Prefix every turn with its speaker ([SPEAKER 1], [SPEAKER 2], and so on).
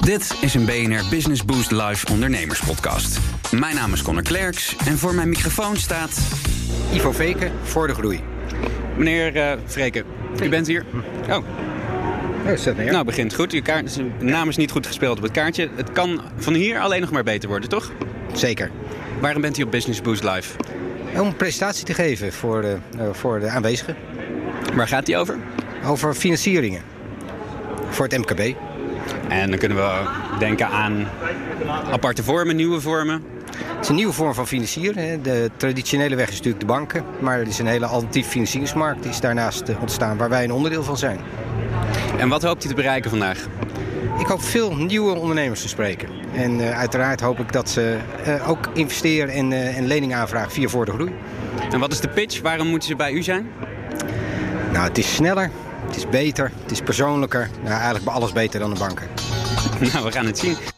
[SPEAKER 1] Dit is een BNR Business Boost Live ondernemerspodcast. Mijn naam is Conor Klerks en voor mijn microfoon staat...
[SPEAKER 2] Ivo Veken voor de groei.
[SPEAKER 1] Meneer eh Vreken, u bent hier. Oh,
[SPEAKER 2] Ja, is dat
[SPEAKER 1] nou begint goed. Uw kaart, uw naam is niet goed gespeeld op het kaartje. Het kan van hier alleen nog maar beter worden, toch?
[SPEAKER 2] Nou, Zeker.
[SPEAKER 1] Waarom bent u op Business Boost Live?
[SPEAKER 2] Om een presentatie te geven voor de, eh, voor de aanwezigen
[SPEAKER 1] Waar gaat die over?
[SPEAKER 2] over financieringen voor het MKB.
[SPEAKER 1] En dan kunnen we denken aan aparte vormen, nieuwe vormen.
[SPEAKER 2] Het is een nieuwe vorm van financieren. Hè. De traditionele weg is natuurlijk de banken, maar er is een hele alternatieve financieringsmarkt die is daarnaast eh, ontstaan waar wij een onderdeel van zijn.
[SPEAKER 1] En wat hoopt u te bereiken vandaag?
[SPEAKER 2] Ik hoop veel nieuwe ondernemers te spreken. En eh, uiteraard hoop ik dat ze eh, ook investeren en, eh, en lening aanvragen via Voor de Groei.
[SPEAKER 1] En wat is de pitch? Waarom moeten ze bij u zijn?
[SPEAKER 2] Nou, het is sneller, het is beter, het is persoonlijker. Nou, eigenlijk bij alles beter dan de banken.
[SPEAKER 1] Nou, we gaan het zien.